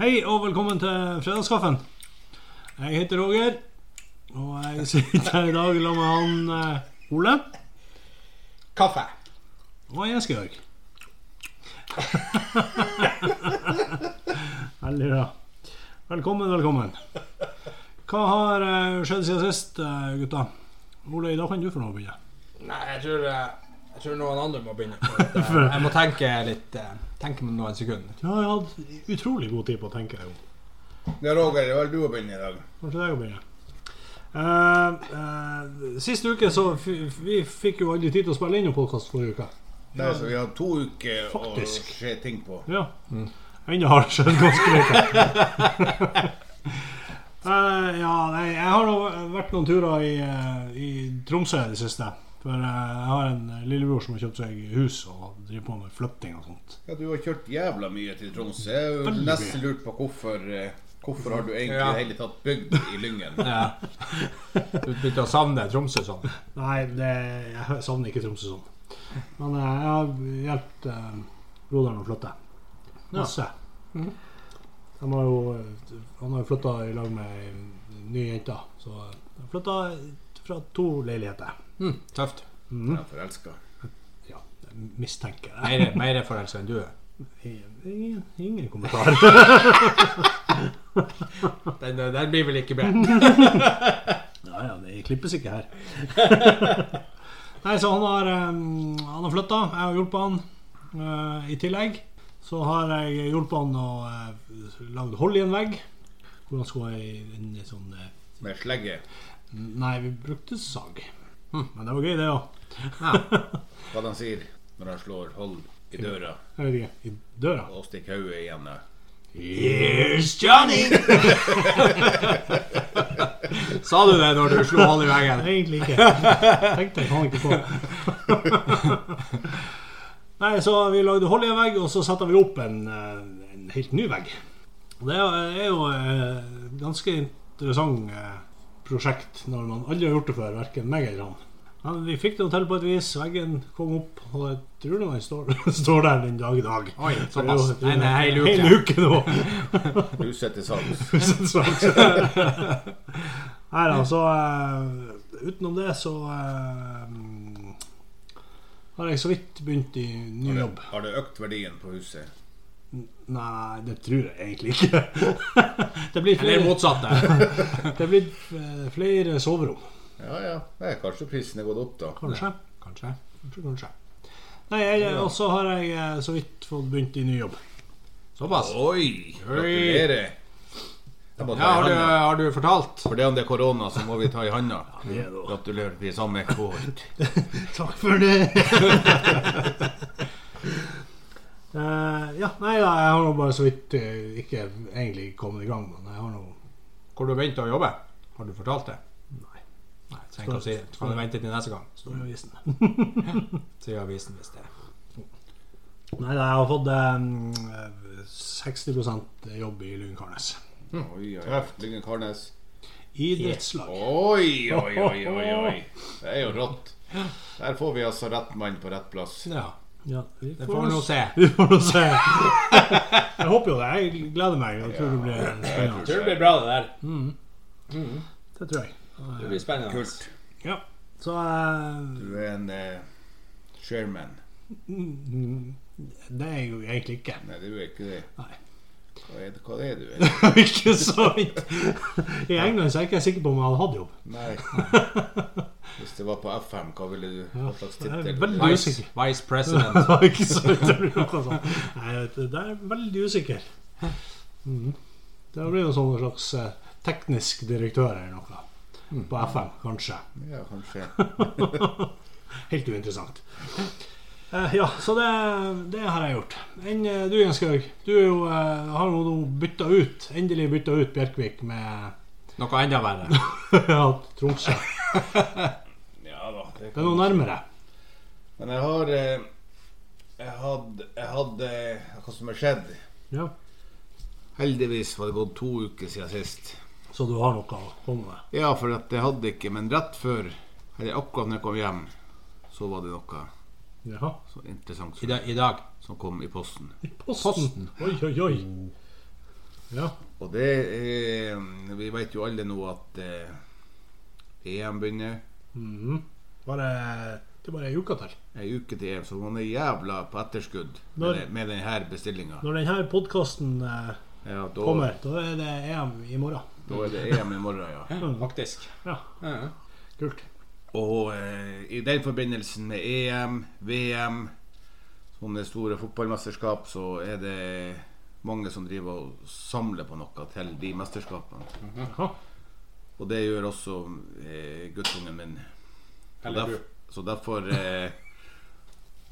Hei og velkommen til fredagskaffen. Jeg heter Roger, og jeg sitter her i dag sammen med han eh, Ole Kaffe. og Jens Georg. Veldig bra. Velkommen, velkommen. Hva har eh, skjedd siden sist, eh, gutta? Ole, i dag kan du få lov å begynne. Nei, jeg tror, eh, jeg tror noen andre må begynne. For at, eh, jeg må tenke litt eh, Tenke meg noen sekunder. Du har jo hatt utrolig god tid på å tenke deg om. Ja, Roger, det var du å begynne i dag. Kanskje deg å begynne. Eh, eh, sist uke så f vi fikk jo aldri tid til å spille inn noen podkast forrige uke. Nei, så vi har to uker Faktisk. å se ting på. Ja. Ennå har det skjedd ganske lite. Eh, ja, nei, jeg har nå vært noen turer i, eh, i Tromsø i det siste. For eh, jeg har en lillebror som har kjøpt seg hus og driver på med flytting og sånt. Ja, Du har kjørt jævla mye til Tromsø. Jeg har jo Veldig nesten lurt på hvorfor eh, Hvorfor har du egentlig i Ja. det hele tatt bygd i Lyngen? Ja. Du begynte å savne Tromsø sånn. Nei, det, jeg savner ikke Tromsø sånn. Men eh, jeg har hjulpet eh, broderen å flytte. Masse. De har jo, eh, han har jo flytta i lag med ei ny jente. Så de flytta fra to leiligheter. Mm, tøft. Jeg er forelska. Ja, jeg mistenker det. Mer, mer forelska enn du er. Ingen, ingen kommentar. Den, den blir vel ikke bra. Ja, ja, det klippes ikke her. Nei, så han har, um, han har flytta. Jeg har hjulpet han eh, i tillegg. Så har jeg hjulpet han å uh, lage hull i en vegg. Hvor han skulle ha ei- en sånn eh, Med slegge. Nei, vi brukte sag. Hm, Men det var gøy, det òg. Ja. Hva de sier når han slår hold i døra Jeg vet ikke. I døra. og stikker hodet igjen. eh. Here's Johnny! Sa du det når du slo hold i veggen? Nei, egentlig ikke. Tenkte jeg faen ikke på. Nei, så vi lagde hull i en vegg, og så setter vi opp en, eh, en helt ny vegg. Og Det er jo et ganske interessant eh, prosjekt når man aldri har gjort det før, verken meg eller han. Men vi fikk det jo til på et vis. Veggen kom opp, og jeg tror nå den står, står der den dag i dag. Oi, såpass. Det er jo- En En hel uke. hel uke nå. Huset til salgs. Tusen svart. Nei da, så eh, utenom det så eh, har jeg så vidt begynt i ny Har jobb. det- Har det økt verdien på huset? Nei, det tror jeg egentlig ikke. det blir Eller flere, motsatte. det blir, eh, flere soverom, Ja ja. Nei, kanskje prisen er gått opp, da. kanskje. Kanskje. Kanskje, kanskje. Nei, jeg- Og så har jeg eh, så vidt fått begynt i ny jobb. Såpass. Oi! Gratulerer. Jeg må ta Ja, i har du, handa. har du fortalt? For det om det er korona, så må vi ta i handa. det er det. Gratulerer, vi er samme kår. Takk for det. Eh, ja, nei da, jeg har nå bare så vidt eh, ikke egentlig kommet i gang, men jeg har nå Hvor du begynte å jobbe? Har du fortalt det? Nei. Nei trenger ikke å si det. Kan du vente til neste gang? står i avisen. Sier avisen hvis det Nei da, jeg har fått eh, 60 jobb i Lyngarnes. Oi, oi, oi. Lyngen Karnes. Idrettslag. Oi, oi, oi, oi, oi. Det er jo rått. Der får vi altså rett mann på rett plass. Ja, Ja, vi det får vi nå se. se. Vi får nå se. Jeg håper jo det. Jeg gleder meg. Jeg tror det blir spennende. Tror det blir bra, det der. Det tror jeg. Det blir spennende. Kult. Ja. Så eh, Du er en eh, shareman. mm, det er jeg jo egentlig ikke. Nei, du er ikke det. Nei. Hva er, det- hva er du? ikke så vidt. I England så er jeg ikke sikker på om jeg hadde hatt jobb. Nei. Hvis det var på FM, hva ville du Hva slags Jeg tittel? er veldig Vice, usikker. vice Det president. var ikke så vidt jeg ble noe sånt. sånn. Nei, jeg vet det. Der er jeg veldig usikker. Mhm. Det blir jo sånn en slags eh, teknisk direktør eller noe. På FM, kanskje. Ja, kanskje. Helt uinteressant. Eh, ja, så det, det har jeg gjort. Enn eh, du, Jens Gaug. Du er jo, eh, har jo nå bytta ut, endelig bytta ut Bjerkvik med Noe enda verre. ja, Tromsø. Ja da. det Det kan- er noe nærmere. Men jeg har eh, Jeg hadde Jeg hadde eh, Hva som har skjedd? Ja. Heldigvis var det gått to uker siden sist. Så du har noe å komme med. Ja, for at jeg hadde ikke, men rett før, eller akkurat når jeg kom hjem, så var det noe Jaha. så interessant I, da, I dag. som kom i posten. Oh. I posten. Oi, oi, oi. Ja. Og det er Vi vet jo alle nå at eh, EM begynner. Mhm. Bare, det er bare ei uke til. Ei uke til EM, så man er jævla på etterskudd med, Når- det- med denne bestillinga. Når denne podkasten eh, Ja, da, kommer, da er det EM i morgen. da er det EM i morgen, ja. Faktisk. Ja, Ja, ja. kult. Og eh, i den forbindelsen med E EM, VM, sånne store fotballmesterskap, så er det mange som driver og samler på noe til de mesterskapene. Jaha. Og det gjør også eh, guttungen min. Så, Eller du. derf så derfor eh,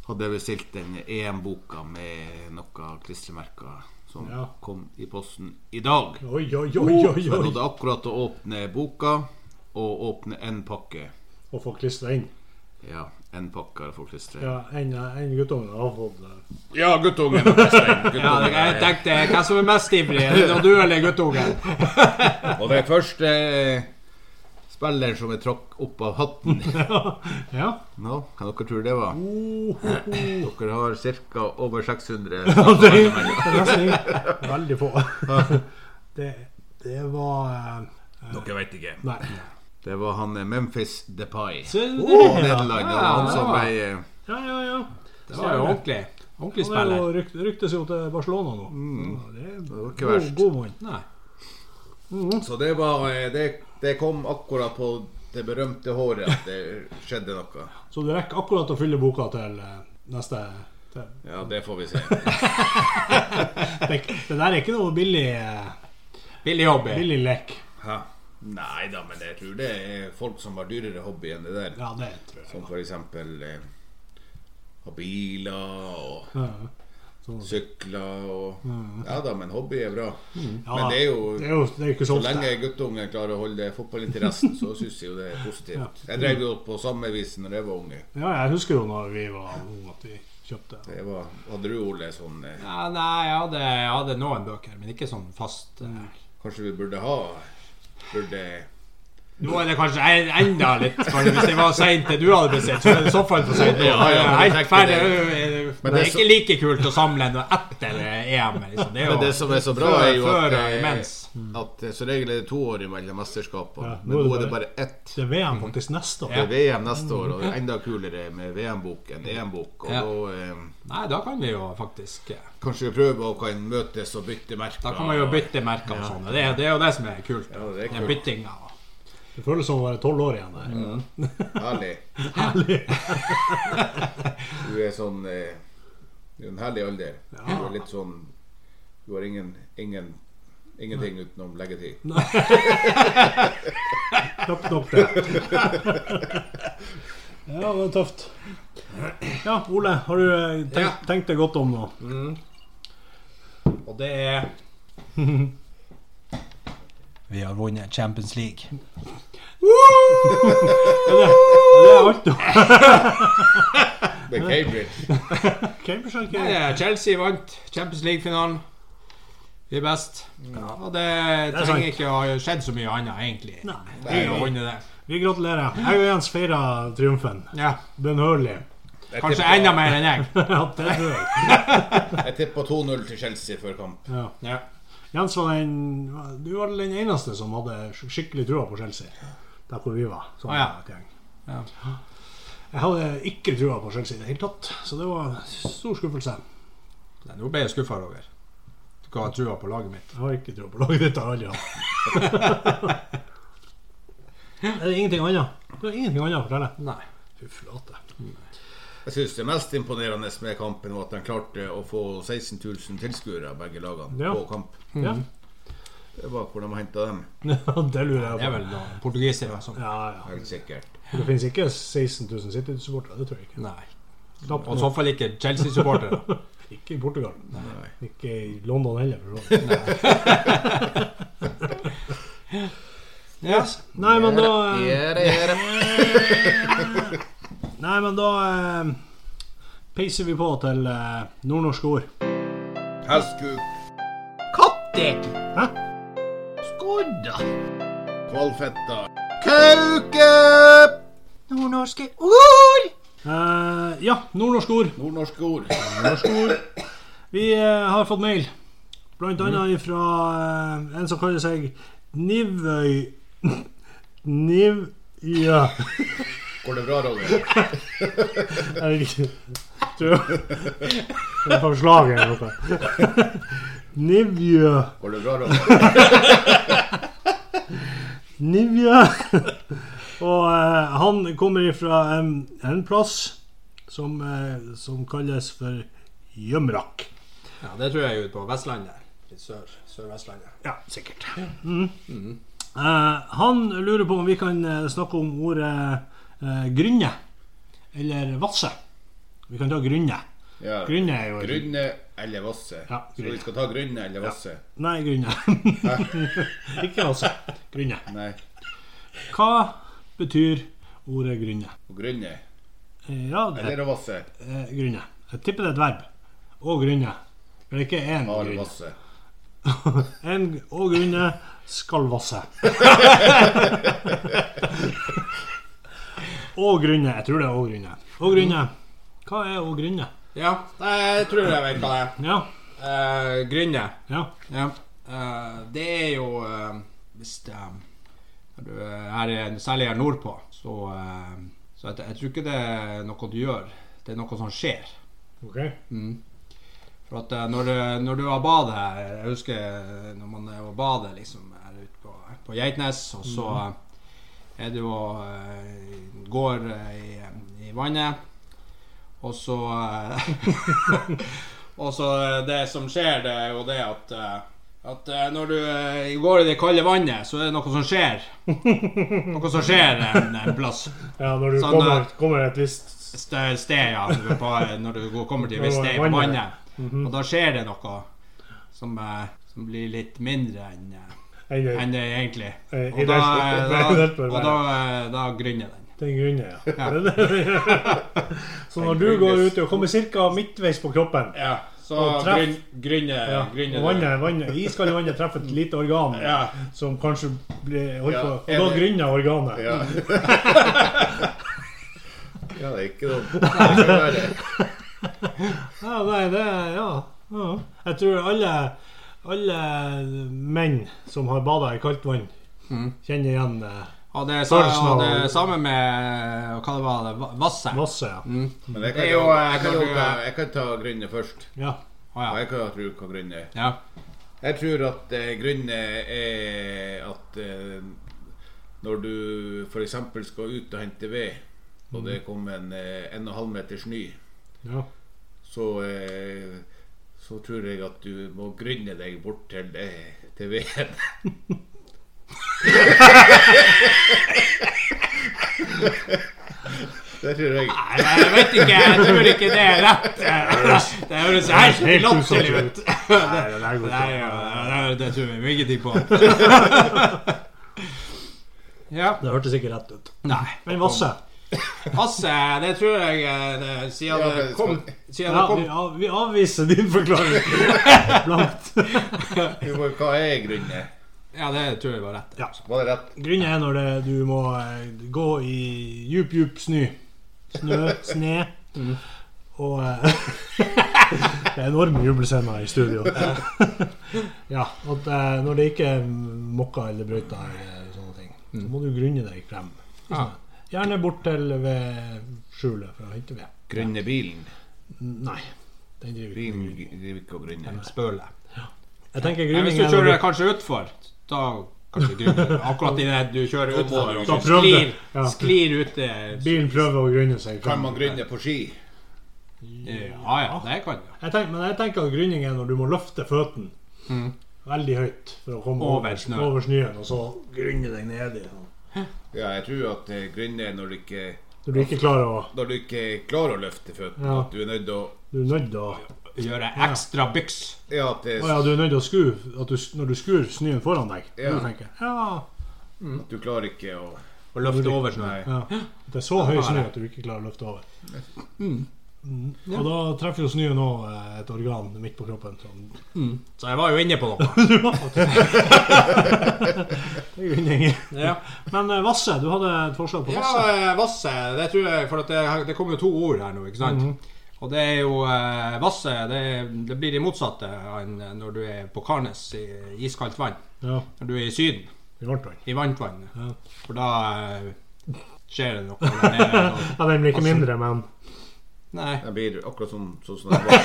hadde jeg bestilt den EM-boka med noe klistremerker som Ja. kom i posten i dag. Oi, oi, Oh, oi, oi, Så jeg oi. nådde akkurat å åpne boka og åpne en pakke. Å få klistra inn. Ja, en pakke har jeg fått klistre. Ja, En, en guttungen har fått eh, Ja, guttungen. og Kristian. Ja, Guttungen, jeg ja. tenkte hva som er mest ivrig, er det du eller guttungen? Og det er første eh, spilleren som er tråkk opp av hatten. Ja. Nå, hva dere tror det var? Oh, ho, ho. Dere har ca. over 600. Det det er nesten ingen. Veldig få. Det, det var eh, Dere vet ikke. Nei. Det var han eh, Memphis DePay Se fra der, ja. Nederland. Det var han som Ja. ble eh, Ja, ja, ja. Det var jo ordentlig. Ordentlig Han er spiller. jo rykt, ryktes jo til Barcelona nå. Ja, det er Mm. var ikke god, verst. god mann. Nei. Så det var eh, det, det kom akkurat på det berømte håret at det skjedde noe. Så du rekker akkurat å fylle boka til eh, neste til. Ja, det får vi se. Det, det der er ikke noe billig, eh, Billig hobby. billig lek. Hæ? Nei da, men jeg tror det er folk som har dyrere hobby enn det der. Ja, det tror jeg. Som f.eks. Eh, har biler og Ja, sykler og Ja da, men hobby er bra. ja. Men det er jo det er jo det er ikke så så ofte. lenge guttungen klarer å holde fotballinteressen, så syns jeg jo det er positivt. Jeg drev jo på samme vis når jeg var unge. Ja, jeg husker jo når vi var unge at vi kjøpte. Det var, hadde du, Ole, sånn eh, Ja, nei, jeg hadde, jeg hadde noen bøker, men ikke sånn fast. eh. Kanskje vi burde ha Burde Nå er det kanskje en- enda litt kanskje, Hvis jeg var sein til du hadde bestilt, så er det i så fall for seint. Ja, ja, men jeg Helt tenker ferdig. det. Det Men er det er ikke like kult å samle noe etter EM. Liksom. Det er Men det jo som er så bra, før- er jo at, før og eh, imens. at eh, som regel er det to år mellom mesterskapene. Ja, Men nå er det bare ett. Det er VM faktisk neste år. Det er VM neste år, og enda kulere med VM-bok enn EM-bok. Og Ja. da eh, Nei, da kan vi jo faktisk eh, Kanskje vi prøver å kan møtes og bytte merker. Da kan man jo bytte merker og sånn. og Det, er- det er jo det som er kult. Ja, det er Den kult. byttinga. Det føles som å være tolv år igjen. Der. Mm. Herlig. Herlig. Du er sånn eh, Du er en herlig alder. Du er litt sånn Du har ingen, ingen ingenting utenom leggetid. Knapt nok det. Ja, det er tøft. Ja, Ole, har du eh, Ja. tenkt, tenkt deg godt om nå? Og det er Vi har vunnet Champions League. Ja, det er alt nå. Med Cambridge. Cambridge har Nei, ikke eh, Chelsea vant Champions League-finalen. Vi er best. Og det, er sant. trenger ikke å ha skjedd så mye annet, egentlig. Nei. Vi har vunnet det. Vi gratulerer. Jeg og Jens feirer triumfen. Ja. Benhørlig. Jeg Kanskje tipper- enda mer enn jeg. Ja, det tror jeg. Jeg tippa 2-0 til Chelsea før kamp. Ja. Ja. Jens var den Du var den eneste som hadde sk- skikkelig trua på Chelsea, der hvor vi var. som Å, ja. et gjeng. Ja. Jeg hadde ikke trua på Chelsea i det hele tatt, så det var stor skuffelse. Nei, Nå ble jeg skuffa over hva jeg trua på laget mitt. Jeg har ikke trua på laget ditt, jeg har aldri hatt. Er det ingenting annet? Det er ingenting annet å fortelle. Nei. Fy flate. Jeg syns det mest imponerende med kampen var at de klarte å få 16 000 tilskuere, begge lagene, Ja. på kamp. Mm. Ja. Det var hvor de henta dem. det lurer Det er jeg på. vel noen portugisere som Ja, ja. Helt sikkert. Det finnes ikke 16 000 City-supportere, det tror jeg ikke. Nei. Knapt Og i nok. så fall ikke Chelsea-supportere. Ikke i Portugal. Nei. Ikke i London heller. For så vidt. Ja. Nei, men da eh, Ja, det er det. Nei, men da eh, peiser vi på til eh, nordnorske ord. Hestkuk. Kattek! Hæ? Skodda! Kvalfetta. Kauke! Nordnorske ord! Eh, ja, nordnorske ord. Nordnorske ord. Vi eh, har fått mail Blant annet fra eh, en som kaller seg Nivøy Nivja Går det bra, Roger? Er det riktig? Tror jeg. Det er fra slaget eller noe. Nivjø Går det bra, Roger? Nivjø. Og eh, han kommer ifra en, en plass som, eh, som kalles for Gjømrak. Ja, det tror jeg er ute på Vestlandet. Litt sør. Sør-Vestlandet. Ja, sikkert. Mhm. Mm. Eh, han lurer på om vi kan eh, snakke om ordet eh, grynne, eller vasse. Vi kan ta grynne. Ja. Grynne er jo Grunne eller Vasse? Ja, Så vi Grunne. skal ta Grunne eller Vasse? Nei, grynne. Ikke vasse. Grynne. Nei. Hva betyr ordet grynne? Og Grunne Eh, Ja, det eller Vasse? eh, grynne. Jeg tipper det er et verb. Å grynne. Men ikke én Al grynne. Vasse. En å grynne skal vasse. Å grynne. Jeg tror det er å grynne. Å grynne. Hva er å grynne? Ja, nei, jeg tror jeg vet hva det er. Ja. Uh, Grynne. ja. Ja. Eh, det er jo eh, Hvis det, når du er her, i- særlig her nordpå, så, eh, så jeg, jeg tror ikke det er noe du gjør. Det er noe som skjer. Ok. Mm. For at eh, når, du- når du var badet her Jeg husker eh, når man er og bader liksom her ute på, på Geitnes, og så eh, er du og eh, går eh, i, i vannet, og så eh, Og så eh, det som skjer, det er jo det at eh, at eh, når du eh, går i det kalde vannet, så er det noe som skjer. Noe som skjer en, en plass. Ja, når du Sånn, kommer, eh, kommer et visst Stø- sted, eh, ja. du er På, når du går- kommer til et visst sted på Vannet. vannet. Og da skjer det noe som, eh, som blir litt mindre enn eh, eller enn det egentlig. Eh, Og da, ideelt- da, ideelt bør og da, eh, da grynner den. den grunne, ja. Så når du går ut og kommer ca. midtveis på kroppen Ja, så Og treff. gryn, grynner ja, grynner og vannet, vannet, iskaldt vannet treffer et lite organ Ja. som kanskje blir holdt Ja, på Og er da det- grynner organet. Ja. ja, det er ikke dumt. Ja, nei, det ja. ja. Jeg tror alle, alle menn som har bada i kaldt vann, Mm. kjenner igjen eh, Og det er, sa, Følelsen av- og det er samme med eh, Hva det var det? Va- Vasset? masse. Ja. Mm. Men jeg Det kan, er jo, jo, eh, jeg når kan, jo du- ta, jeg kan ta Grunne først. Ja. Å Og ja. jeg kan tro hva Grunne er. ja. Jeg tror at eh, grunnen er at eh, når du f.eks. skal ut og hente ved, og det kommer en eh, 1,5 meter snø, ja. så, eh, så tror jeg at du må grynne deg bort til, eh, til veden. det tror jeg. Nei, jeg vet ikke. Jeg tror ikke det er rett. Det høres helt Helt latterlig usannsynlig. ut. Nei, det der går Nei, ikke. ja, det, det tror vi ingenting på. ja. Det hørtes ikke rett ut. Nei. Men Vasse, Vasse, det tror jeg eh, det, Siden Ja, det men- kom ja, Siden det vi, kom av, vi avviser din forklaring blankt. Du må- Hva er grynne? Ja, det tror jeg var rett. Var det rett? Grunnen er når det, du må eh, gå i djup, djup snø. Snø, sne. Mm. Og eh, Det er enorme jubelscener i studio. ja, at eh, Når det ikke er mokka eller brøyta eller sånne ting, så Mm. må du grunne deg frem. Ja. Gjerne bort til ved skjulet for å hente ved. Grønne bilen. Nei, den driver ikke. Bilen driver ikke og grynner. Spøle. Jeg tenker Nei, Hvis grunning du er når kjører du kanskje utfor, da kanskje grunner Akkurat idet du kjører utfor Da og prøvde. sklir, Ja. sklir ut eh, det bilen prøver å grunne seg. Kan frem. man grynne på ski? Ja ja, det kan du. Jeg tenker, men jeg tenker at grunning er når du må løfte føttene veldig høyt for å komme Mm. Over over, snøen. over snøen, og så grunne deg ned i den. Ja, jeg tror at eh, grunnen er når du ikke, Når du ikke klarer å når du ikke klarer å løfte føttene. Ja. At du er nødt til å Du er nødt til å Gjøre ekstra byks. Ja, at, det, Å ja, du er nødt til å skru at du, s- når du skrur snøen foran deg. Ja. Du tenker Ja. at du klarer ikke å Og løfte over sånn snøen. ja. At Det er så høy snø at du ikke klarer å løfte over. Mm. Og da treffer jo snøen òg et organ midt på kroppen. Sånn. Så jeg var jo inne på noe. Det er grunning. Ja. Men eh, Vasse, du hadde et forslag på Vasse? Mhm. Ja, eh, Vasse. Det tror jeg, for at det, det kommer jo to ord her nå, ikke sant? Og det er jo eh, vasset det, det blir det motsatte enn når du er på Karnes i iskaldt vann. Ja, Når du er i Syden, i varmt vann. i varmt vann. Ja. For da eh, skjer det noe der nede. og- Ja, den blir ikke mindre, men Nei. Jeg blir akkurat sånn, sånn som jeg var.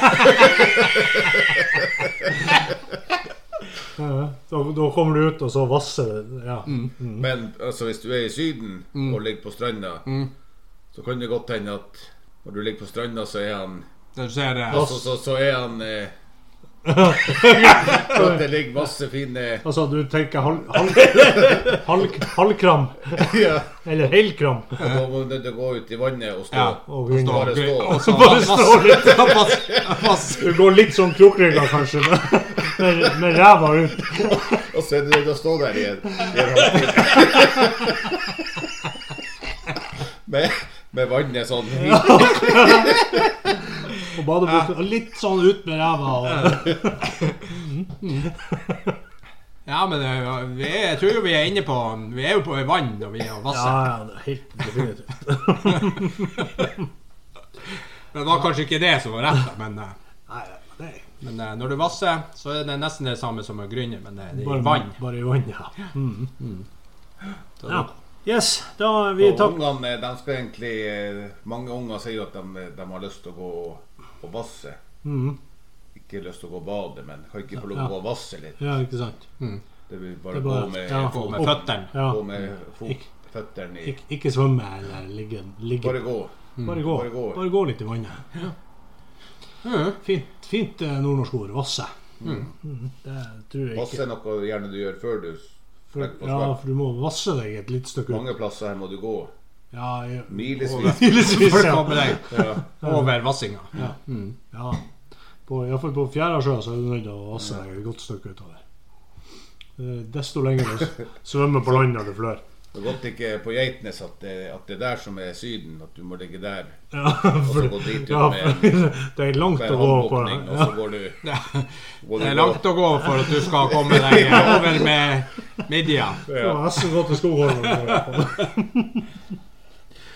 ja, ja. da, da kommer du ut, og så vasser det. Ja. Mm. Men altså, hvis du er i Syden og ligger på stranda, Mm. så kan det godt hende at når du ligger på stranda, så er han Du ser eh, det. Altså, så, så er han eh, så at det ligger masse fine Altså, du tenker halv, halv, halv, halvkram, ja. eller helkram. Og da må du gå ut i vannet og stå. Ja. Og Og begynner. Bare stå. og så Bare stå litt. vass- vass- Du går litt sånn krokrygga, kanskje, men- med, med ræva ut. Og så er du nødt til å stå der i en, i en halv time. med, med vannet sånn Og badebuksa litt sånn ut med ræva. Og, Ja, men eh, vi er, jeg tror jo vi er inne på Vi er jo på vann når vi er og ja, vasser. ja, det er helt definitivt. Men det var kanskje ikke det som var rett, da, men, eh, Nei, det er men eh, når du vasser, så er det nesten det samme som å grynne, men eh, det er i bare vann. Bare i vann, ja. Mm. Så ja. da- Yes, da er vi Og takk. ungene, de skal egentlig eh, Mange unger sier jo at de, de har lyst til å gå og, og vasse. Mm. Ikke lyst til å gå og bade, men kan ikke få lov til å gå og vasse litt. Ja, ikke sant. Det vil Det bare, er bare- gå med, ja. Gå med Opp. føttene. Ja. gå med fot, føttene i Ik ikke svømme eller ligge. ligge. Bare gå. Mm. Bare gå. Bare gå. Bare gå litt i vannet. Mm. Fint, fint eh, nordnorsk ord. Vasse. Mm, Det tror jeg Vasse ikke. er noe gjerne du gjør før du For, legger på ja, strand. for du må vasse deg et lite stykke ut. Mange plasser her må du gå. Ja, i- Milevis. milevis, For å ja. komme deg Ja. over vassinga. Ja. ja. På, iallfall på Fjærasjø så er du nødt til å vasse deg et godt stykke utover. Eh, Desto lenger du s- svømmer på land når du flør. Det er godt ikke på Geitnes at det, at det er der som er Syden, at du må ligge der. Ja, for, gå dit ut ja, med- for det er langt Det å er gå på. håndåpning, og Ja, så går du, Ja. går du Det er går- langt å gå for at du skal komme deg eh, over med midja. det var nesten gå til Skogholmen. Nei,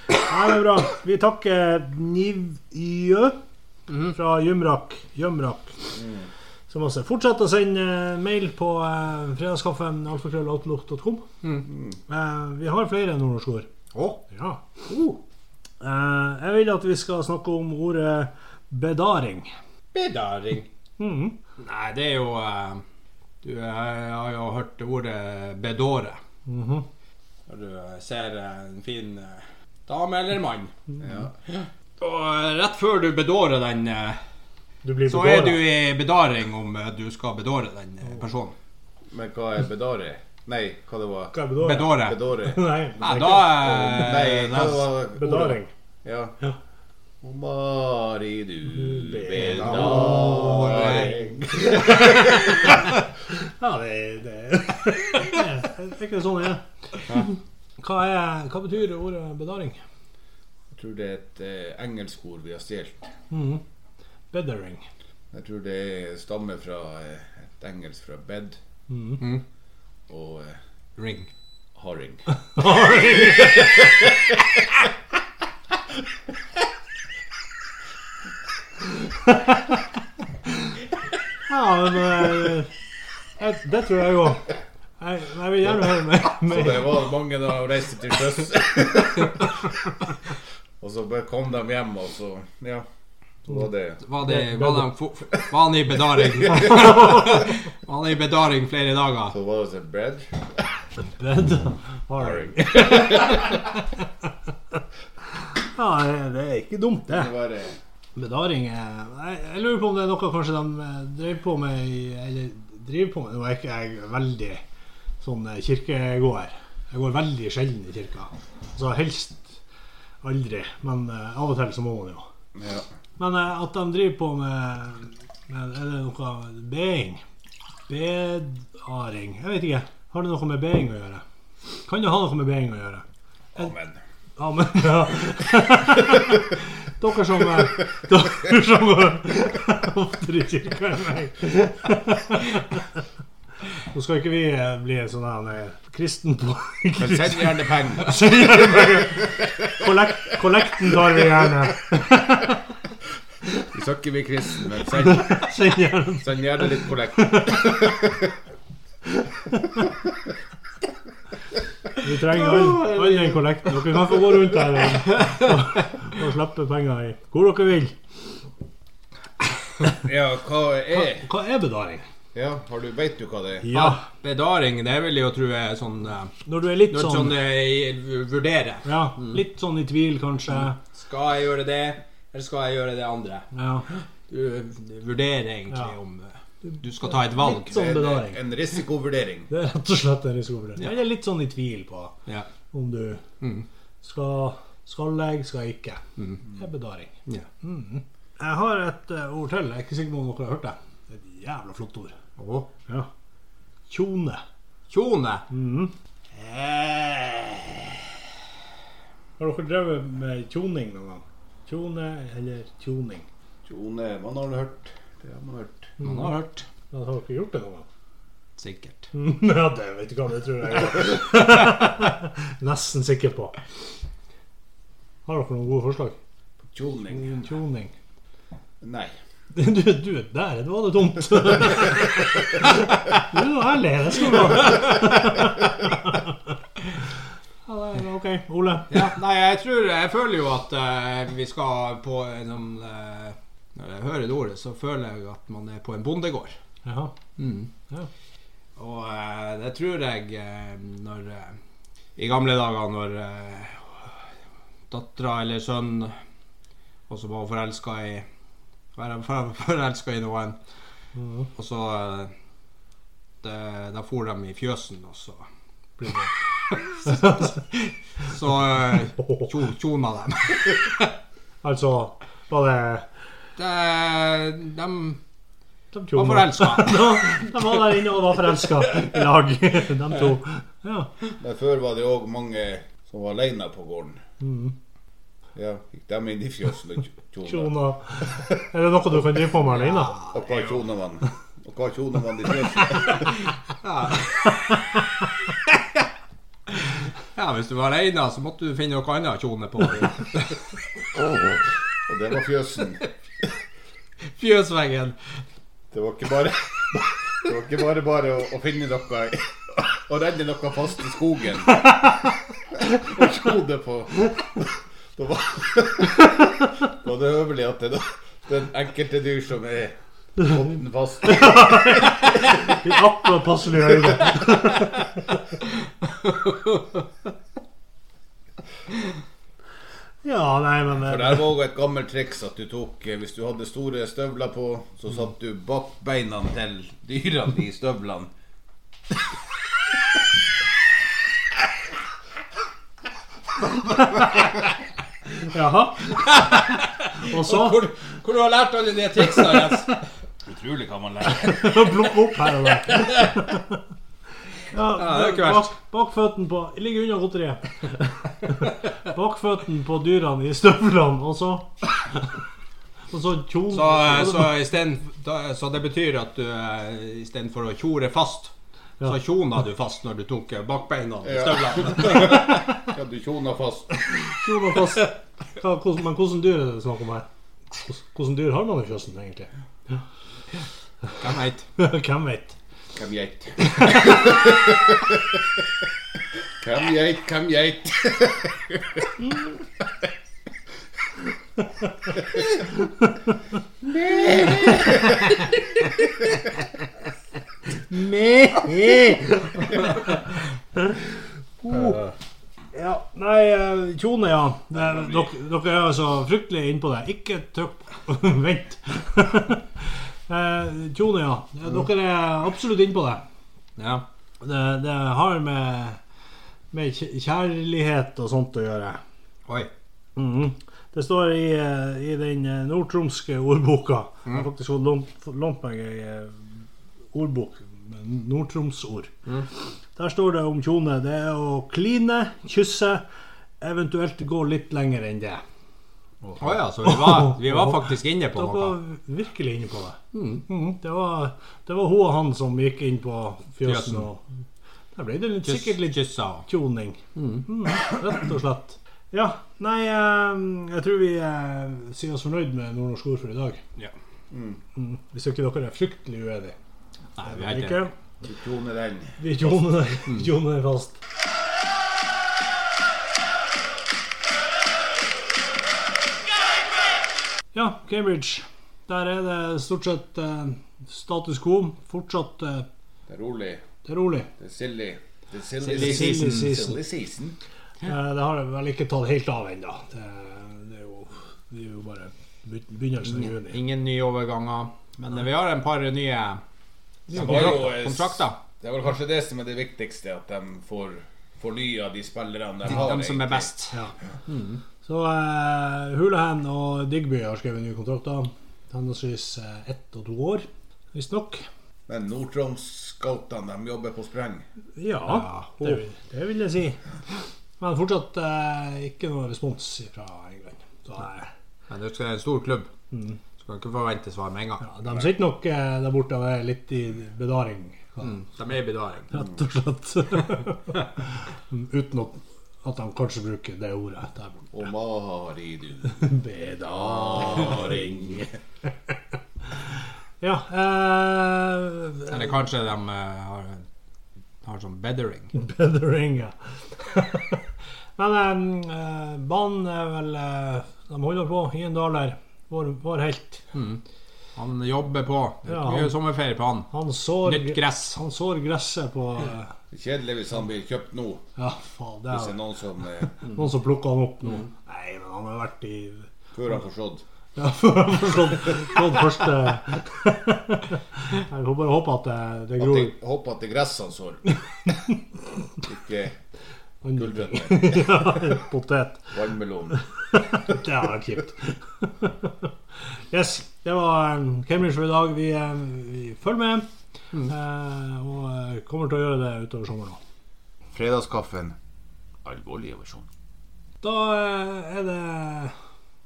det er bra. Vi takker Nivjø Mhm. fra Jumrak. Jumrak. Som også Fortsett å sende eh, mail på eh, fredagskaffen alfakrølloutlook.com. Mhm. Eh, vi har flere nordnorske ord. Oh. Ja. Eh, jeg vil at vi skal snakke om ordet bedaring. Bedaring. Mhm. Nei, det er jo eh, Du eh, har jo hørt ordet bedåre. Mhm. Når du eh, ser eh, en fin eh, dame eller mann. Ja. Og eh, rett før du bedårer den, eh, Du blir så bedåret. er du i bedaring om eh, du skal bedåre den eh, personen. Men hva er bedare? Nei, hva det var? Hva er bedåret? Bedåre. Bedare? Nei, Nei, det er da ikke eh, Nei, hva det da- var? bedaring. Ja. Ja. Å, Mari, du Bedare. bedare. Ja, det, det, det er ikke sånn det er. Hva, er, hva betyr ordet bedaring? Jeg tror det er et eh, engelsk ord vi har stjålet. Mhm. Bedaring. Jeg tror det stammer fra eh, et engelsk fra bed Mhm. Mm. og eh, Ring. haring. Ja, men eh, jeg, Det tror jeg òg. Jeg, jeg vil gjerne høre mer. Så mer. det var mange da og reiste til sjøs. og så bare kom de hjem, og så Ja. Så var det Var, det, var, de, fo- f- var han i bedaring? var han i bedaring flere dager? Så var det så bread. Bedaring. Ja, det- det er ikke dumt, det. Det var eh, det. Bedaring eh, Jeg, jeg lurer på om det er noe kanskje de eh, drev på med i- Eller driver på med Nå er ikke jeg veldig sånn eh, kirkegåer. Jeg går veldig sjelden i kirka. Så helst aldri. Men eh, av og til så må man jo. Ja. Men eh, at de driver på med, med Er det noe being? Bedaring? Jeg vet ikke. Har det noe med being å gjøre? Kan det ha noe med being å gjøre? Amen. Ja, men ja. Dere som eh, Dere som eh, oftere i kirka enn meg. Nå skal ikke vi eh, bli sånn her eh, kristen på Men send gjerne penger. Kollek- Kollekten tar vi gjerne. søkker vi kristen, men send, Send gjerne. send gjerne litt kollekt. Vi trenger alle all en kollekt. Dere kan få gå rundt her og, og, og slippe penger i hvor dere vil. Ja, hva er Hva er bedaring? Ja, har du, Vet du hva det er? Ja. Ah, Bedaring, det vil jeg jo tro er sånn eh, Når du er litt Når sånn, sånn eh, vurdere. ja, litt sånn i tvil, kanskje. Skal jeg gjøre det, eller skal jeg gjøre det andre? Ja. Du vurderer egentlig Ja. om eh, du skal ta et valg. Litt sånn En, bedaring. en risikovurdering. Det er rett og slett en risikoprøve. Jeg er litt sånn i tvil på Ja. om du Mm. skal skal jeg, skal jeg ikke. Det er bedaring. Mm. Ja. Jeg har et eh, ord til. Jeg er ikke sikker på om dere har hørt det. Det er et jævla flott ord. Åh. Ja. Tjone. Kjone. Eh. Har dere drevet med tjoning noen gang? Tjone eller tjoning? Tjone, man har hørt. Det har man hørt. Man har hørt. Men Har dere gjort det noen gang? Sikkert. Mm, ja, det vet du hva, det tror jeg jeg er Nesten sikker på. Har dere noen gode forslag? Tjoning. Tjoning. Nei. Du, du, der det var det tomt. Du er ærlig. Det skal du ha. Ja, det er OK. Ole? Ja, nei, jeg tror Jeg føler jo at eh, vi skal på en sånn eh, Når jeg hører det ordet, så føler jeg at man er på en bondegård. Mm. Jaha. Og eh, det tror jeg eh, når eh, I gamle dager når uh, dattera eller sønnen Og så var hun forelska i var- var- Forelska i noen. Mhm. Og så eh, det, Da for de i fjøsen, og så Blir det. Så eh, tjo, tjona dem. Altså, var det De, de De var tjona. forelska. De var der inne og var forelska i lag, de to. Ja. Men før var det òg mange som var aleine på gården. Mhm. Ja, gikk dem inn i fjøsen og tjo- tjona. Tjona. Er det noe du kan drive på med alene? Og hva tjona man? Og hva tjona man i fjøsen? Ja, hvis du var aleine, så måtte du finne noe annet tjone på. Og det var fjøsen. Fjøsveggen. Det var ikke bare Det var ikke bare bare å, å finne noe Å redde noe fast i skogen. Og tjo det på. Da var, da var det høvelig at det, den enkelte dyr som er hånden fast I akkurat passelig høyde. Ja, nei, men For eh, der var også et gammelt triks at du tok eh, Hvis du hadde store støvler på, så satt du bak beina til dyrene i støvlene. eh, Jaha. Og så Hvor, hvor du har lært alle de triksene? Jens? Utrolig hva man lærer. plukke opp her og der. Ja, det er ikke bak, verst. bakføtten på Ligg unna godteriet. Bakføtten på dyrene i støvlene, og så Og så tjon... Så, eh, så, i stedet, da- så det betyr at du eh, istedenfor å tjore fast, Ja. så tjona du fast når du tok eh, bakbeina i Ja. støvlene. Ja, du tjona fast. Jo, men, fast, hva, hvordan, men hvordan dyr er det snakk om her? Hvordan, hvordan dyr har man i fjøsen, egentlig? Hvem veit? Hvem vet? Hvem geit? Hvem geit, hvem geit? Oh. Ja, nei, eh, kjone, ja. Eh, Dere, dere er altså fryktelig innpå det. Ikke trykk på Vent. Eh, Kjone, ja. Eh, Dere er absolutt innpå det. Ja. Det, det har med, med kj- kjærlighet og sånt å gjøre. Oi. Mhm. Det står i, eh, i den eh, nordtromske ordboka. Jeg har faktisk fått lånt- fått lånt meg ei eh, ordbok med nordtromsord. Der står det om kjone. Det er å kline, kysse, eventuelt gå litt lenger enn det. Å ja, så vi var, vi var faktisk inne på Dere noe. var virkelig inne på det. Mhm. Det, var, det var hun og han som gikk inn på fjøsen. Fjøsen. Og der ble det litt, Kyss, sikkert litt kyssa. Mm. tjoning. Mhm, Rett og slett. Ja, nei, eh, jeg tror vi eh, sier oss fornøyd med nordnorsk ord for i dag. Ja. Mm. Hvis ikke dere er fryktelig uenige. Er Nei, vi er dere ikke ikke? Mm. Du toner den. Vi joner joner fast. Ja, Cambridge. Der er det stort sett eh, status quo. Fortsatt eh, Det er rolig. det er rolig. Det er silly. Det er Silly Silly season. season. Silly season. Eh, det har jeg vel ikke tatt helt av ennå. Det, det, er jo- det er jo bare be- begynnelsen av juni. Ingen nye overganger. Men eh, vi har en par nye Det var jo, kontrakter. eh, kontrakter. Det er vel kanskje det som er det viktigste, at de får fornya de spillerne de har. De som er egentlig. best. Ja. Så eh, Hulahan og Digby har skrevet nye kontrakter. Henholdsvis eh, ett og to år, visstnok. Men Nord-Troms-scoutene, de jobber på spreng. Ja, det, vil, det vil jeg si. Men fortsatt eh, ikke noe respons fra England. Så, eh, Men du skal en stor klubb. Så kan ikke forvente svar med en gang. ja, de sitter nok eh, der borte og er litt i bedaring, Mm. De er i bedaring. rett og slett. Uten at, at de kanskje bruker det ordet. Der borte. Og Mari, du. Bedaring. Ring. Ja. Eh, Eller kanskje de eh, har, har sånn beddering. bedaring, ja. Men eh, eh, banen er vel eh, De holder på. Hyendaler, vår, vår helt. Han jobber på. Det er Ja, ikke han- mye sommerferie på han. Han sår, Nytt gress. han sår gresset på eh, Kjedelig hvis han blir kjøpt nå, Ja, faen, det hvis det er er noen som eh, noen som plukker han opp nå. Nei, men han har vært i Før han får sådd. Ja, før han har slått slått første Jeg får bare håpe at det- det At gror jeg håper at det er gress han sår. Ikke andre gulrøtter, potet. vannmelon. Det hadde vært kjipt. Yes, det var eh, Cambridge for i dag. Vi, eh, vi følger med. eh, Og eh, kommer til å gjøre det utover sommeren òg. Fredagskaffen. Alvorlig versjon. Da eh, er det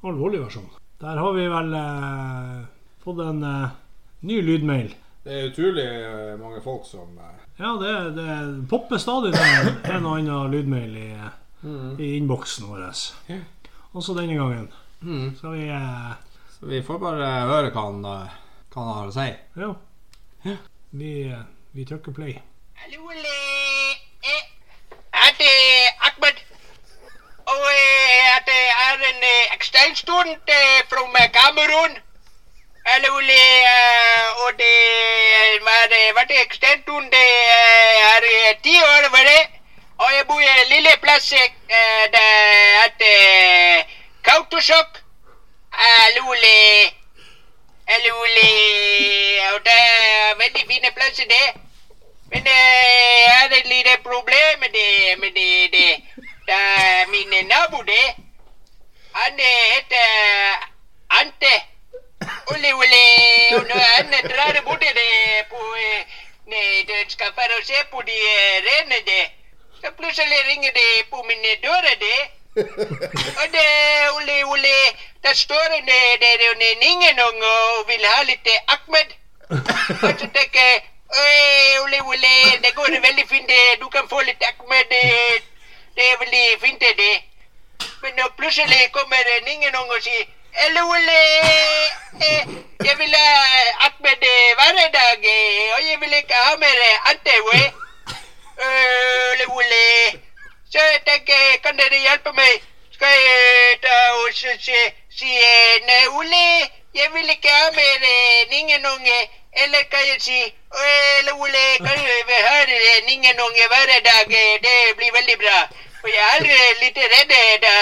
alvorlig versjon. Der har vi vel eh, fått en eh, ny lydmail. Det er utrolig eh, mange folk som eh, Ja, det, det popper stadig ned en og annen lydmail i, i innboksen vår. Også denne gangen. Skal vi eh, Så vi får bare høre hva han, eh, hva han har å si. Ja. Vi, eh, vi trykker play. Hallo, eh, er det Ahmed? Og eh, er det er en eh, eksternstudent eh, fra Kamerun? Hallo, eh, og det var, var det eksternstudent eh, er eh, ti år, var det? Og jeg bor i en lille plass eh, der heter Kautosjok. Hallo, le. Hallo, le. Og det er veldig fine plasser, det. Men det er et lite problem med det, med det, det. det er min øh, nabo, det. Han eh, heter Ante. øh, Ole, ole. Og når han drar bort det på eh, Nei, den skal bare se på de eh, rene, det. Så plutselig ringer det på min øh, dør, det. Og det, ole, ole. Der står en, eh, det er en ningenung og vil ha litt eh, Ahmed. Og så tenker jeg «Oi, Ole, Ole, det går veldig fint. eh, Du kan få litt akme. Det, det er veldig fint, eh, det. Men nå plutselig kommer eh, ingen ung og sier Hallo, Ole. eh, Jeg vil ha Ahmed eh, hver dag, eh, og jeg vil ikke ha mer eh, Ante. Ole, Ole, Ole. Så jeg tenker jeg, kan dere hjelpe meg? Skal jeg ta og så si, si eh, Nei, Ole, jeg vil ikke ha mer eh, ningenunge. Eller kan jeg si Ole, Ole, kan du høre eh, ningenunge hver dag? eh, Det blir veldig bra. For jeg er eh, litt redd eh, da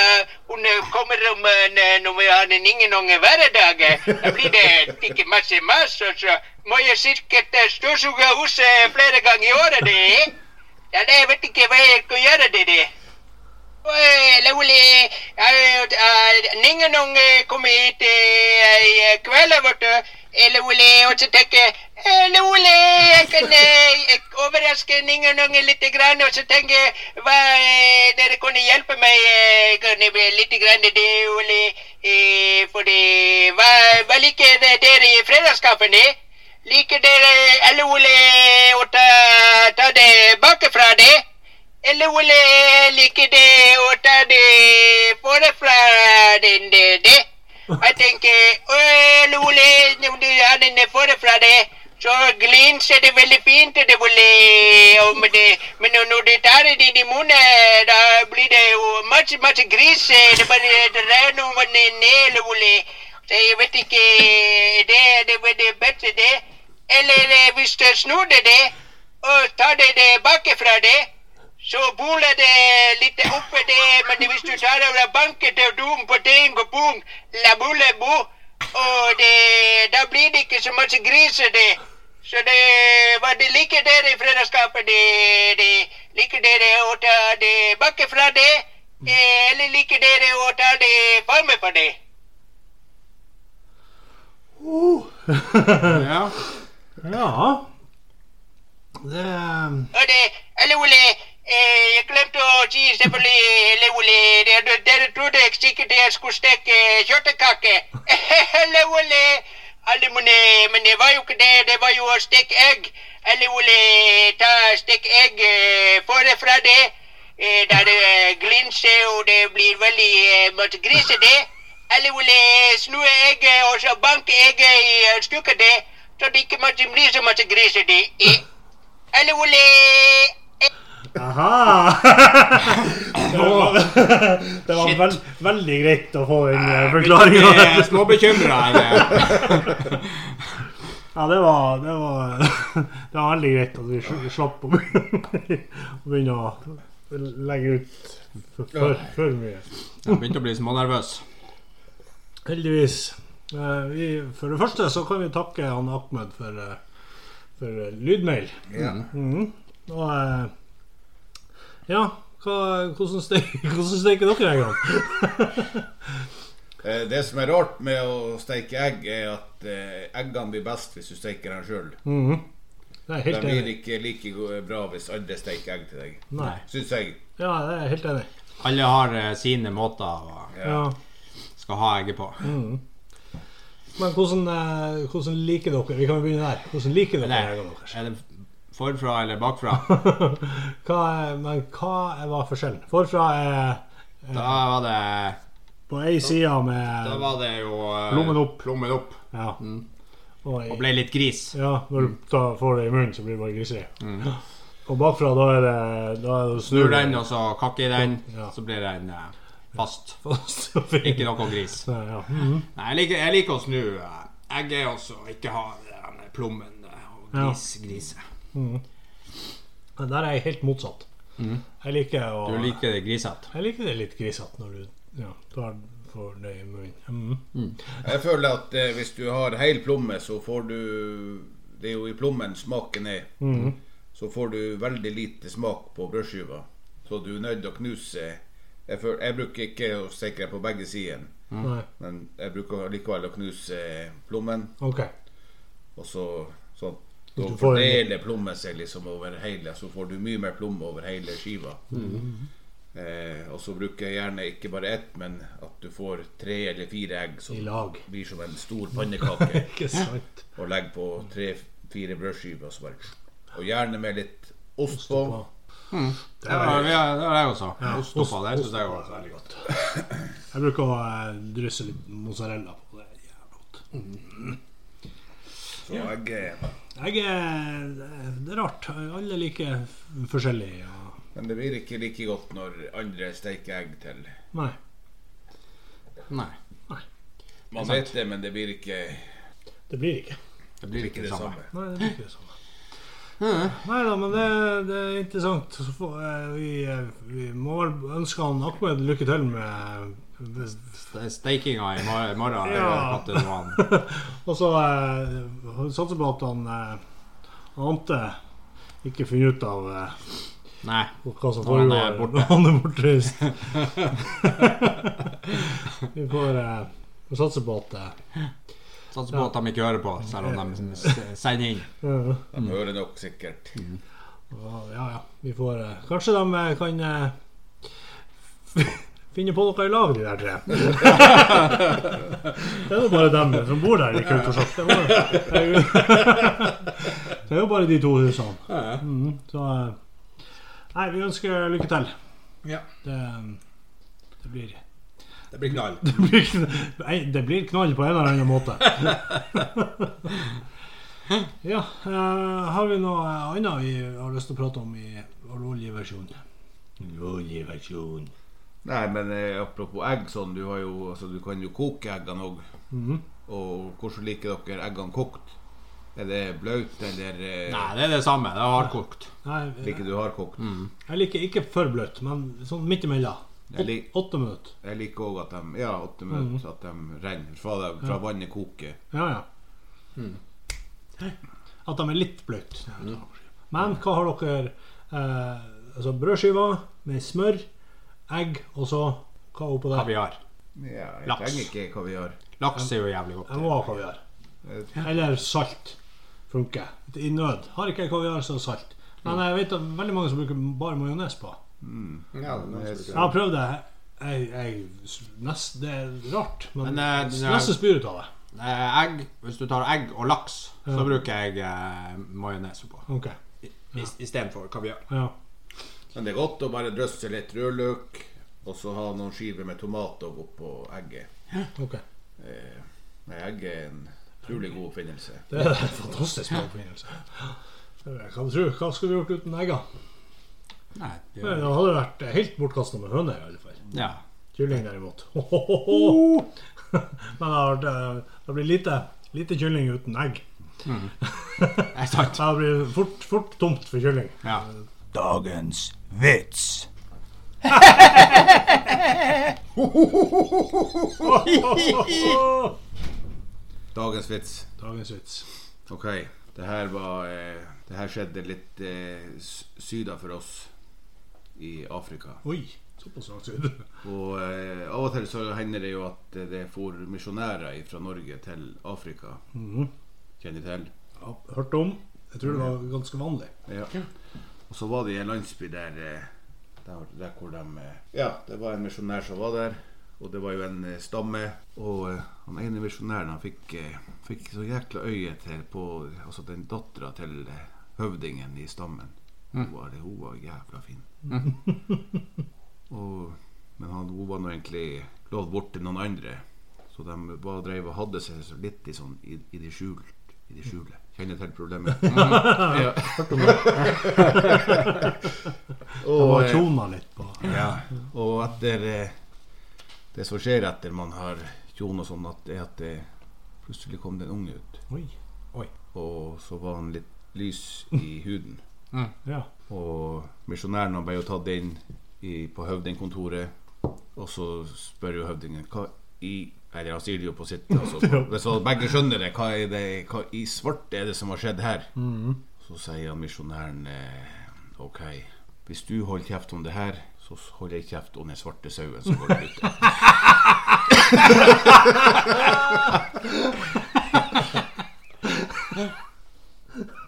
hun eh, kommer om eh, n- når vi har en ningenunge hver dag. eh. Da blir det ikke masse mas, og så må jeg sikkert eh, støvsuge huset flere ganger i året. det. Ja, det, jeg vet ikke hva jeg skal gjøre, det det. Oi, Loli, Ningenung eh, kommer hit eh, i eh, kveld, vet du. Eh, Loli, og så tenker jeg, eh, Loli, jeg kan eh, jeg overraske Ningenung litt, grann, og så tenker jeg, hva, eh, dere kunne hjelpe meg eh, kan jeg bli litt, grann, det, Loli, eh, fordi, hva, hva liker dere i fredagskaffen, eh? Liker dere eh, eller Ole å ta, ta det bakfra det? Eller Ole liker det å låta du får fra den døde. Og jeg tenker Åh, Ole, når du har den får fra deg, så glinser det veldig fint. og Det Ole, og men, det, men når- når du tar det inn i munnen, da blir det jo masse, masse gris. eh, Det bare det renner over ned, Ole. Så jeg vet ikke Det det var det beste, det. Eller eh, hvis du snur det, det, og tar det det bakifra, det. Så buler det litt oppe det, men hvis du tar over banken til dum på ting og bong, la bule bo, og det, da blir det ikke så mye griser det. Så det var det like der i fredagskapet, det, det like der å ta det bakke fra det, eh, eller like der å ta det farme for det. Ja. Ja. Det ehm, er- Og det, eller Ole, eh, jeg glemte å si selvfølgelig, eller Ole, det- det- dere trodde jeg sikkert jeg skulle steke kjøttekake. Eller Ole, alle mine- men det var jo ikke det, det var jo å steke egg. Eller Ole, ta stek egg, eh, få det fra det. Eh, da det eh, glinser og det blir veldig eh, mye grise det. Eller Ole, snu e egget og så banke egget i eh, stykker det, så det ikke måtte bli så mye grise det. Eh. Eller Ole Aha! Det var, det var vel, veldig greit å få den eh, forklaringa. Jeg er småbekymra. Ja, det var, det var Det var veldig greit at vi sl- slapp å begynne å begynne å legge ut for, for, for mye. Jeg begynte å bli smånervøs. Heldigvis. Eh, Vi, for det første så kan vi takke han Ahmed for, eh, for eh, lydmail. Ja. Mhm. Og eh, ja, hva, hvordan steker, hvordan steker dere en gang? Eh, Det som er rart med å steike egg, er at eh, eggene blir best hvis du steiker dem sjøl. Mhm. Det er jeg De helt blir enig. ikke like go- bra hvis andre steiker egg til deg, Nei. syns jeg. Ja, det er jeg helt enig. i. Alle har eh, sine måter å Ja. skal ha egget på. Men hvordan, eh, hvordan liker dere Vi kan jo begynne der. Hvordan liker dere Nei, eggene deres? er det forfra eller bakfra? hva er, men hva er- var forskjellen? Forfra er Da var det på ei side Da med var det jo eh, Lommen opp. Lommen opp. Ja. Og Og i, ble litt gris. ja, når Mm. du tar, får det i munnen, så blir det bare griseri. Og bakfra, da er det Da er det Snur den, og så kakker i den. Ja. Så blir den eh, fast. Fast Ikke noe gris. Nei, ja. Mhm. Nei, jeg liker, jeg liker å snu eh, egget også, ikke ha den der plommen eh, og Ja. gris, grise. Men Der er jeg helt motsatt. Jeg liker å Mm. Du liker det grisete? Jeg liker det litt grisete når du ja, tar for det i munnen. Mhm. Mm. Jeg føler at eh, hvis du har hel plomme, så får du Det er jo i plommen smaken er. Så får du veldig lite smak på brødskiva. Så du er nødt til å knuse. Jeg, føl- jeg bruker ikke å steike på begge sider, Nei. men jeg bruker likevel å knuse plommen. OK. Og så sånn Da Du får en- fordeler plommen seg liksom over hele, så får du mye mer plomme over hele skiva. Eh, og så bruker jeg gjerne ikke bare ett, men at du får tre eller fire egg som I lag. blir som en stor pannekake, Ikke sant? og legger på tre-fire brødskiver. Og, så bare, og gjerne med litt ost på. på. Det har vi- det har jeg også. Ost oppå der syns jeg var også. veldig godt. Jeg bruker å eh, drysse litt mozzarella på det. er jævla godt. Så jeg, eh, Jeg er, det er rart. Alle liker f- forskjellig. Ja. men det blir ikke like godt når andre steiker egg til. Nei. Nei, Man vet det, men det blir ikke, Det blir ikke. det blir ikke ikke det samme. Nei, det blir ikke det samme. Nei da, men det, det er interessant. Så får, eh, vi, eh, vi må vel ønske han Ahmed lykke til med, med Det er Steikinga i mor- morgen. eh, Ja. Ja. Det var Og så eh, satser på at han eh, han Ante ikke finner ut av eh, Nei. hva som Når han foregår er borte. når han er bortreist. vi får eh, vi satser på at eh, Satser på at de ikke hører på, selv om de s- sender inn. eh, De hører nok sikkert. Ja, ja. Vi får eh, Kanskje de eh, kan eh, finne på noe i lag, de der tre. det er jo bare dem som bor der. Ikke, sant, for sagt. det, var, det, er jo, det er jo bare de to husene. Mm, Ja, ja. Mhm, så eh, Nei, vi ønsker lykke til. Ja. Det, eh, Det blir, Det blir knall. det blir, kn- nei, det blir knall på en eller annen måte. ja. eh, har vi noe annet vi har lyst til å prate om i oljeversjonen? Oljeversjon. Nei, men eh, apropos egg, sånn, du, har jo, altså, du kan jo koke eggene òg. Mhm. Og hvordan liker dere eggene kokt? Er det blaut, eller eh, Nei, det er det samme. Det er hardkokt. Nei, liker jeg, du hardkokt? Mhm. jeg liker ikke for bløtt, men sånn midt imellom. Jeg lik- Åt- Åtte minutter. Jeg liker òg at de Ja, åtte minutter, Mhm. at de renner fra, det, fra vannet koker. Ja, ja. Hmm. At de er litt bløte. Mm. Men hva har dere eh, Altså brødskiver med smør, egg, og så hva oppå der? Kaviar. Ja, jeg Laks. trenger ikke kaviar. Laks er jo jævlig godt. Jeg må ha kaviar. Eller salt funker. I nød. Har ikke jeg kaviar, så salt. Men jeg vet at veldig mange som bruker bare majones på. Ja, det er noen som bruker det. Jeg har prøvd det. Jeg, jeg, nest, det er rart, men, Men, eh, den er- nesten spyr ut av det. Eh, Egg. Hvis du tar egg og laks, så bruker jeg eh, majones på. Ok, Istedenfor kaviar. ja. Men det er godt å bare drøsse litt rødløk, og så ha noen skiver med tomat og oppå egget. ok. Eh, nei, egg er en utrolig god oppfinnelse. Det er en fantastisk bra oppfinnelse. Hva, tror- hva skulle vi gjort uten egga? Nei, det, Nei, Det hadde vært helt bortkasta med høne, i alle fall. ja. Kylling, derimot. Hohoho! Men det, har vært, eh, det blir lite, lite kylling uten egg. Det er sant. Det blir fort, fort tomt for kylling. Ja. Dagens vits. Dagens vits. Dagens vits. Ok, det her var eh, Det her skjedde litt eh, s- syda for oss i Afrika. Oi, såpass langt syd. Og eh, av og til så hender det jo at eh, det for misjonærer fra Norge til Afrika. Kjenner til? Ja, Hørt om. Jeg tror det var ganske vanlig. Ja. Og så var det i en landsby der, eh, der, der hvor de eh, Ja, det var en misjonær som var der. Og det var jo en eh, stamme. Og eh, han ene misjonæren han fikk, eh, fikk så jækla øye til på Altså den dattera til eh, høvdingen i stammen. Hun, var, hun var jævla fin. og, men han, hun var nå egentlig lovd bort til noen andre. Så de bare drev og hadde seg så litt i, sånn, i, i det skjult. I det skjule. Kjenner til problemet. Mm. ja. Det og, var eh, tjona litt på. ja. og etter eh, det som skjer etter man har tjon og sånn, at det at det plutselig kom det en unge ut. Oi. Og så var han litt lys i huden. Ja. Og misjonæren han ble jo tatt inn i, på høvdingkontoret, og så spør jo høvdingen hva i Eller han sier det jo på sitt altså, Hvis alle begge skjønner det, hva, er det, hva i svarte er det som har skjedd her? Så sier han misjonæren eh, OK, hvis du holder kjeft om det her, så holder jeg kjeft om den svarte sauen som går der ute.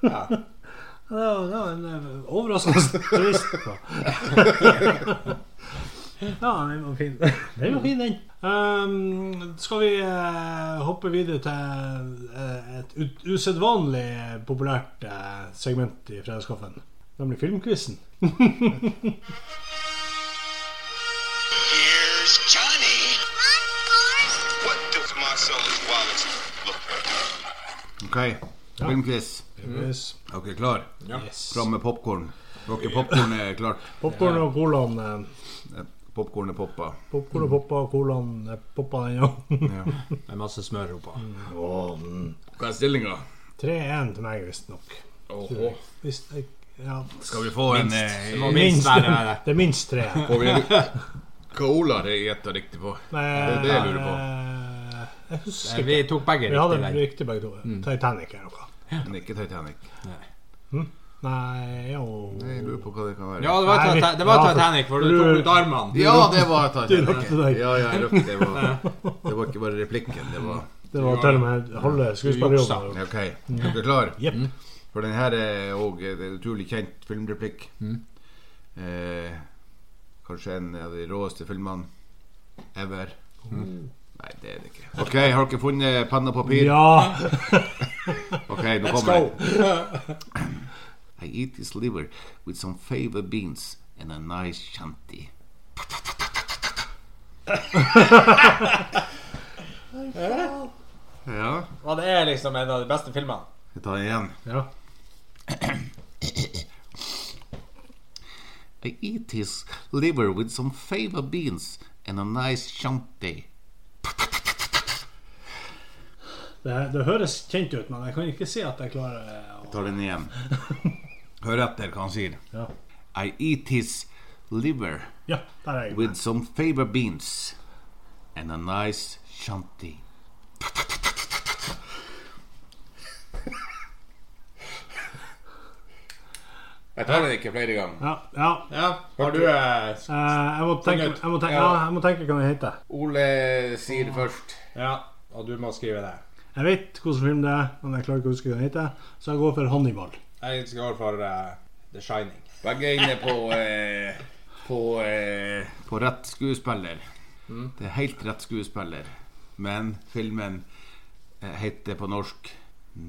Det var, det var en eh, overraskende turist. Da. ja, den var fin. Den var fin, den. Ehm, skal vi eh, hoppe videre til eh, et ut- usedvanlig eh, populært eh, segment i Fredagskaffen? Nemlig filmquizen. Here's Johnny. What the my soul is Wallace. Look. OK, filmquiz. Yes. Er dere klare? Yes. Fram med popkorn. Dere popkorn er klart. Popkorn og colaen. eh, Popkorn er poppa. Popcorn og poppa, colaen eh, poppa den òg. Ja. Med masse smør oppå. Hva er stillinga? 3-1 mm. til meg, visstnok. Åhå. Hvis jeg ja, Skal vi få en Det eh, må minst være være. Det er minst tre. Får vi en Hva Ola har gjetta riktig på? Det er det jeg lurer på. på. eh, Jeg husker Eh, Vi tok begge Vi hadde riktig vei. riktig begge to. Mm. Titanic eller noe. Men ikke Titanic. Nei, jo Jeg lurer på hva det kan være. Ja, det var, Nei, vi- Tita- det var ja, for- Titanic, for du tok ut armene. Ja, det var Du Titanic. røpte deg. Ja, ja, jeg røpte. Det var, det var ikke bare replikken. Det var Det var til og med halve skuespillerjobben. OK. Er dere klare? Jepp. For den her er òg en utrolig kjent filmreplikk. Eh, kanskje en av de råeste filmene ever. Nei, det er det ikke. OK, har dere funnet penn og papir? Ja! Ok, nå kommer jeg. I eat this liver with some fava beans and a nice shanty. Ja. Og det er liksom en av de beste filmene. Vi tar igjen. Ja. I eat his liver with some fava beans and a nice shanty. Det, det høres kjent ut, men jeg kan ikke se at jeg klarer å Tar den igjen. Hør etter hva han sier. Ja, I eat his liver ja der er jeg. with some fava beans and a nice shanty. Jeg tar den ikke flere ganger. Ja, ja. Ja, Har du eh, s- Eh, jeg må tenke, jeg må tenke, ja, jeg må tenke hva den heter. Ole sier først. Ja, og du må skrive det. Jeg vet hvilken film det er, men jeg klarer ikke å huske hva den heter. Så jeg går for Hannibal. Jeg går for eh, The Shining. Begge er inne på eh, på, eh, på rett skuespiller. Det er helt rett skuespiller. Men filmen eh, heter på norsk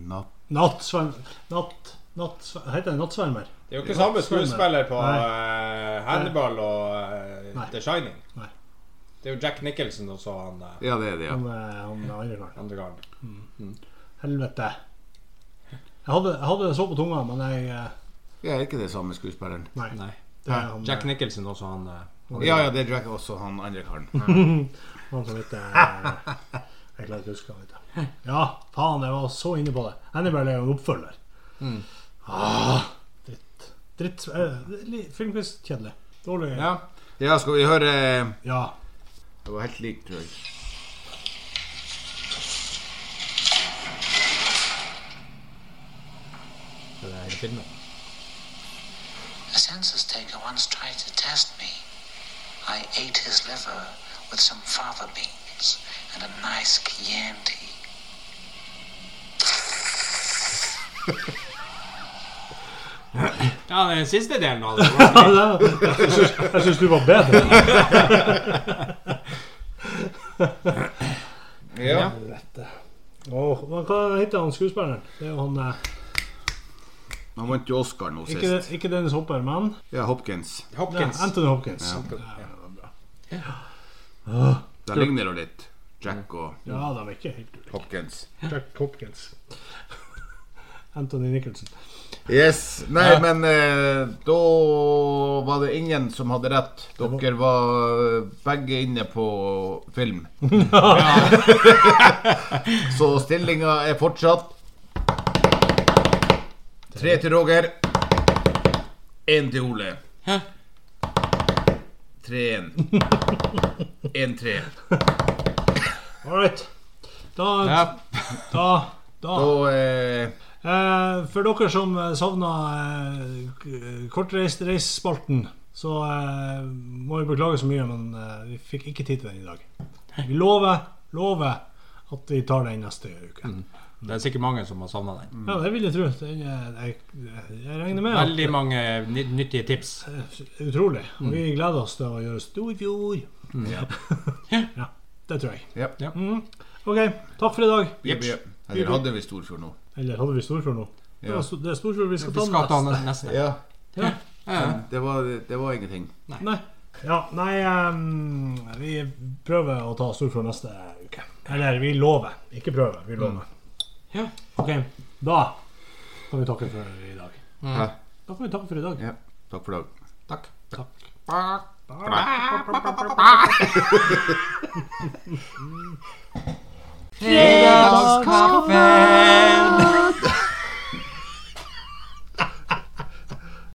Natt... Nattsverm... Natt... Nattsver- Heter den Nattsvermer? Det er jo ikke samme skuespiller på Nei. eh, Hannibal og eh, Nei. The Shining. Nei. Det er jo Jack Nicholson og så han eh, Ja, det er det, ja. Han, eh, han andre karen. andre gangen. Helvete. Jeg hadde, jeg hadde det så på tunga, men jeg eh, Ja, er ikke det samme skuespilleren? Nei. Nei. Det er han, Jack eh, Nicholson og så han eh, Ja, ja, det er Jack også, han andre karen. han som heter eh, Jeg klarer ikke å huske hva han heter. Ja, faen, jeg var så inne på det. Hannibal er jo en oppfølger. Mm. Ah, dritt. Dritt eh, Filmquiz kjedelig. Dårlig. Ja. Ja, skal vi høre eh, ja. Det var helt likt, tror jeg. Det er hele filmen. A census taker once tried to test me. I ate his liver with some fava beans and a nice chianti. Ja, den siste delen av det. Jeg syns du var bedre. Ja. Åh, men hva heter han skuespilleren? Det er jo han eh, Han vant jo Oscar nå Ikke, sist. ikke Dennis Hopper, men Ja, Hopkins. ja, Hopkins. Anthony Hopkins. De ligner jo litt. Jack og Ja, de er ikke helt ulike. Hopkins. Jack Hopkins. Anthony Nicholson. Yes. Nei, men eh, da var det ingen som hadde rett. Dere var eh, begge inne på film. Så stillinga er fortsatt Tre til Roger. Én til Ole. 3-1. 1-3. All right. Da, Ja. da, da. Og eh, Eh, for dere som eh, savna eh, kortreisespalten, så eh, må vi beklage så mye, men eh, vi fikk ikke tid til den i dag. Vi lover, lover at vi tar den neste uke. Det er sikkert mange som har savna den. Ja, det vil jeg tro. Den, eh, jeg, jeg regner med at Veldig mange ny- nyttige tips. Eh, Utrolig. Og vi gleder oss til å gjøre storfjord. ja, det tror jeg. Ja. Ja. Mm. OK, takk for i dag. vi, vi, eller hadde vi Storfjord nå? Eller hadde vi storfjord nå? Det, Ja. var, sto- det er storfjord vi skal Vi skal ta ta neste. den neste. Ja. Ja. Det var, det var ingenting. Nei. Ja, nei ehm, Vi prøver å ta storfjord neste uke. Eller vi lover. Ikke prøver, vi lover. Ja. OK, da kan vi takke for i dag. Ja. Da kan vi takke for i dag. Ja. Takk for i dag. Takk. Takk. Fredagskaffe!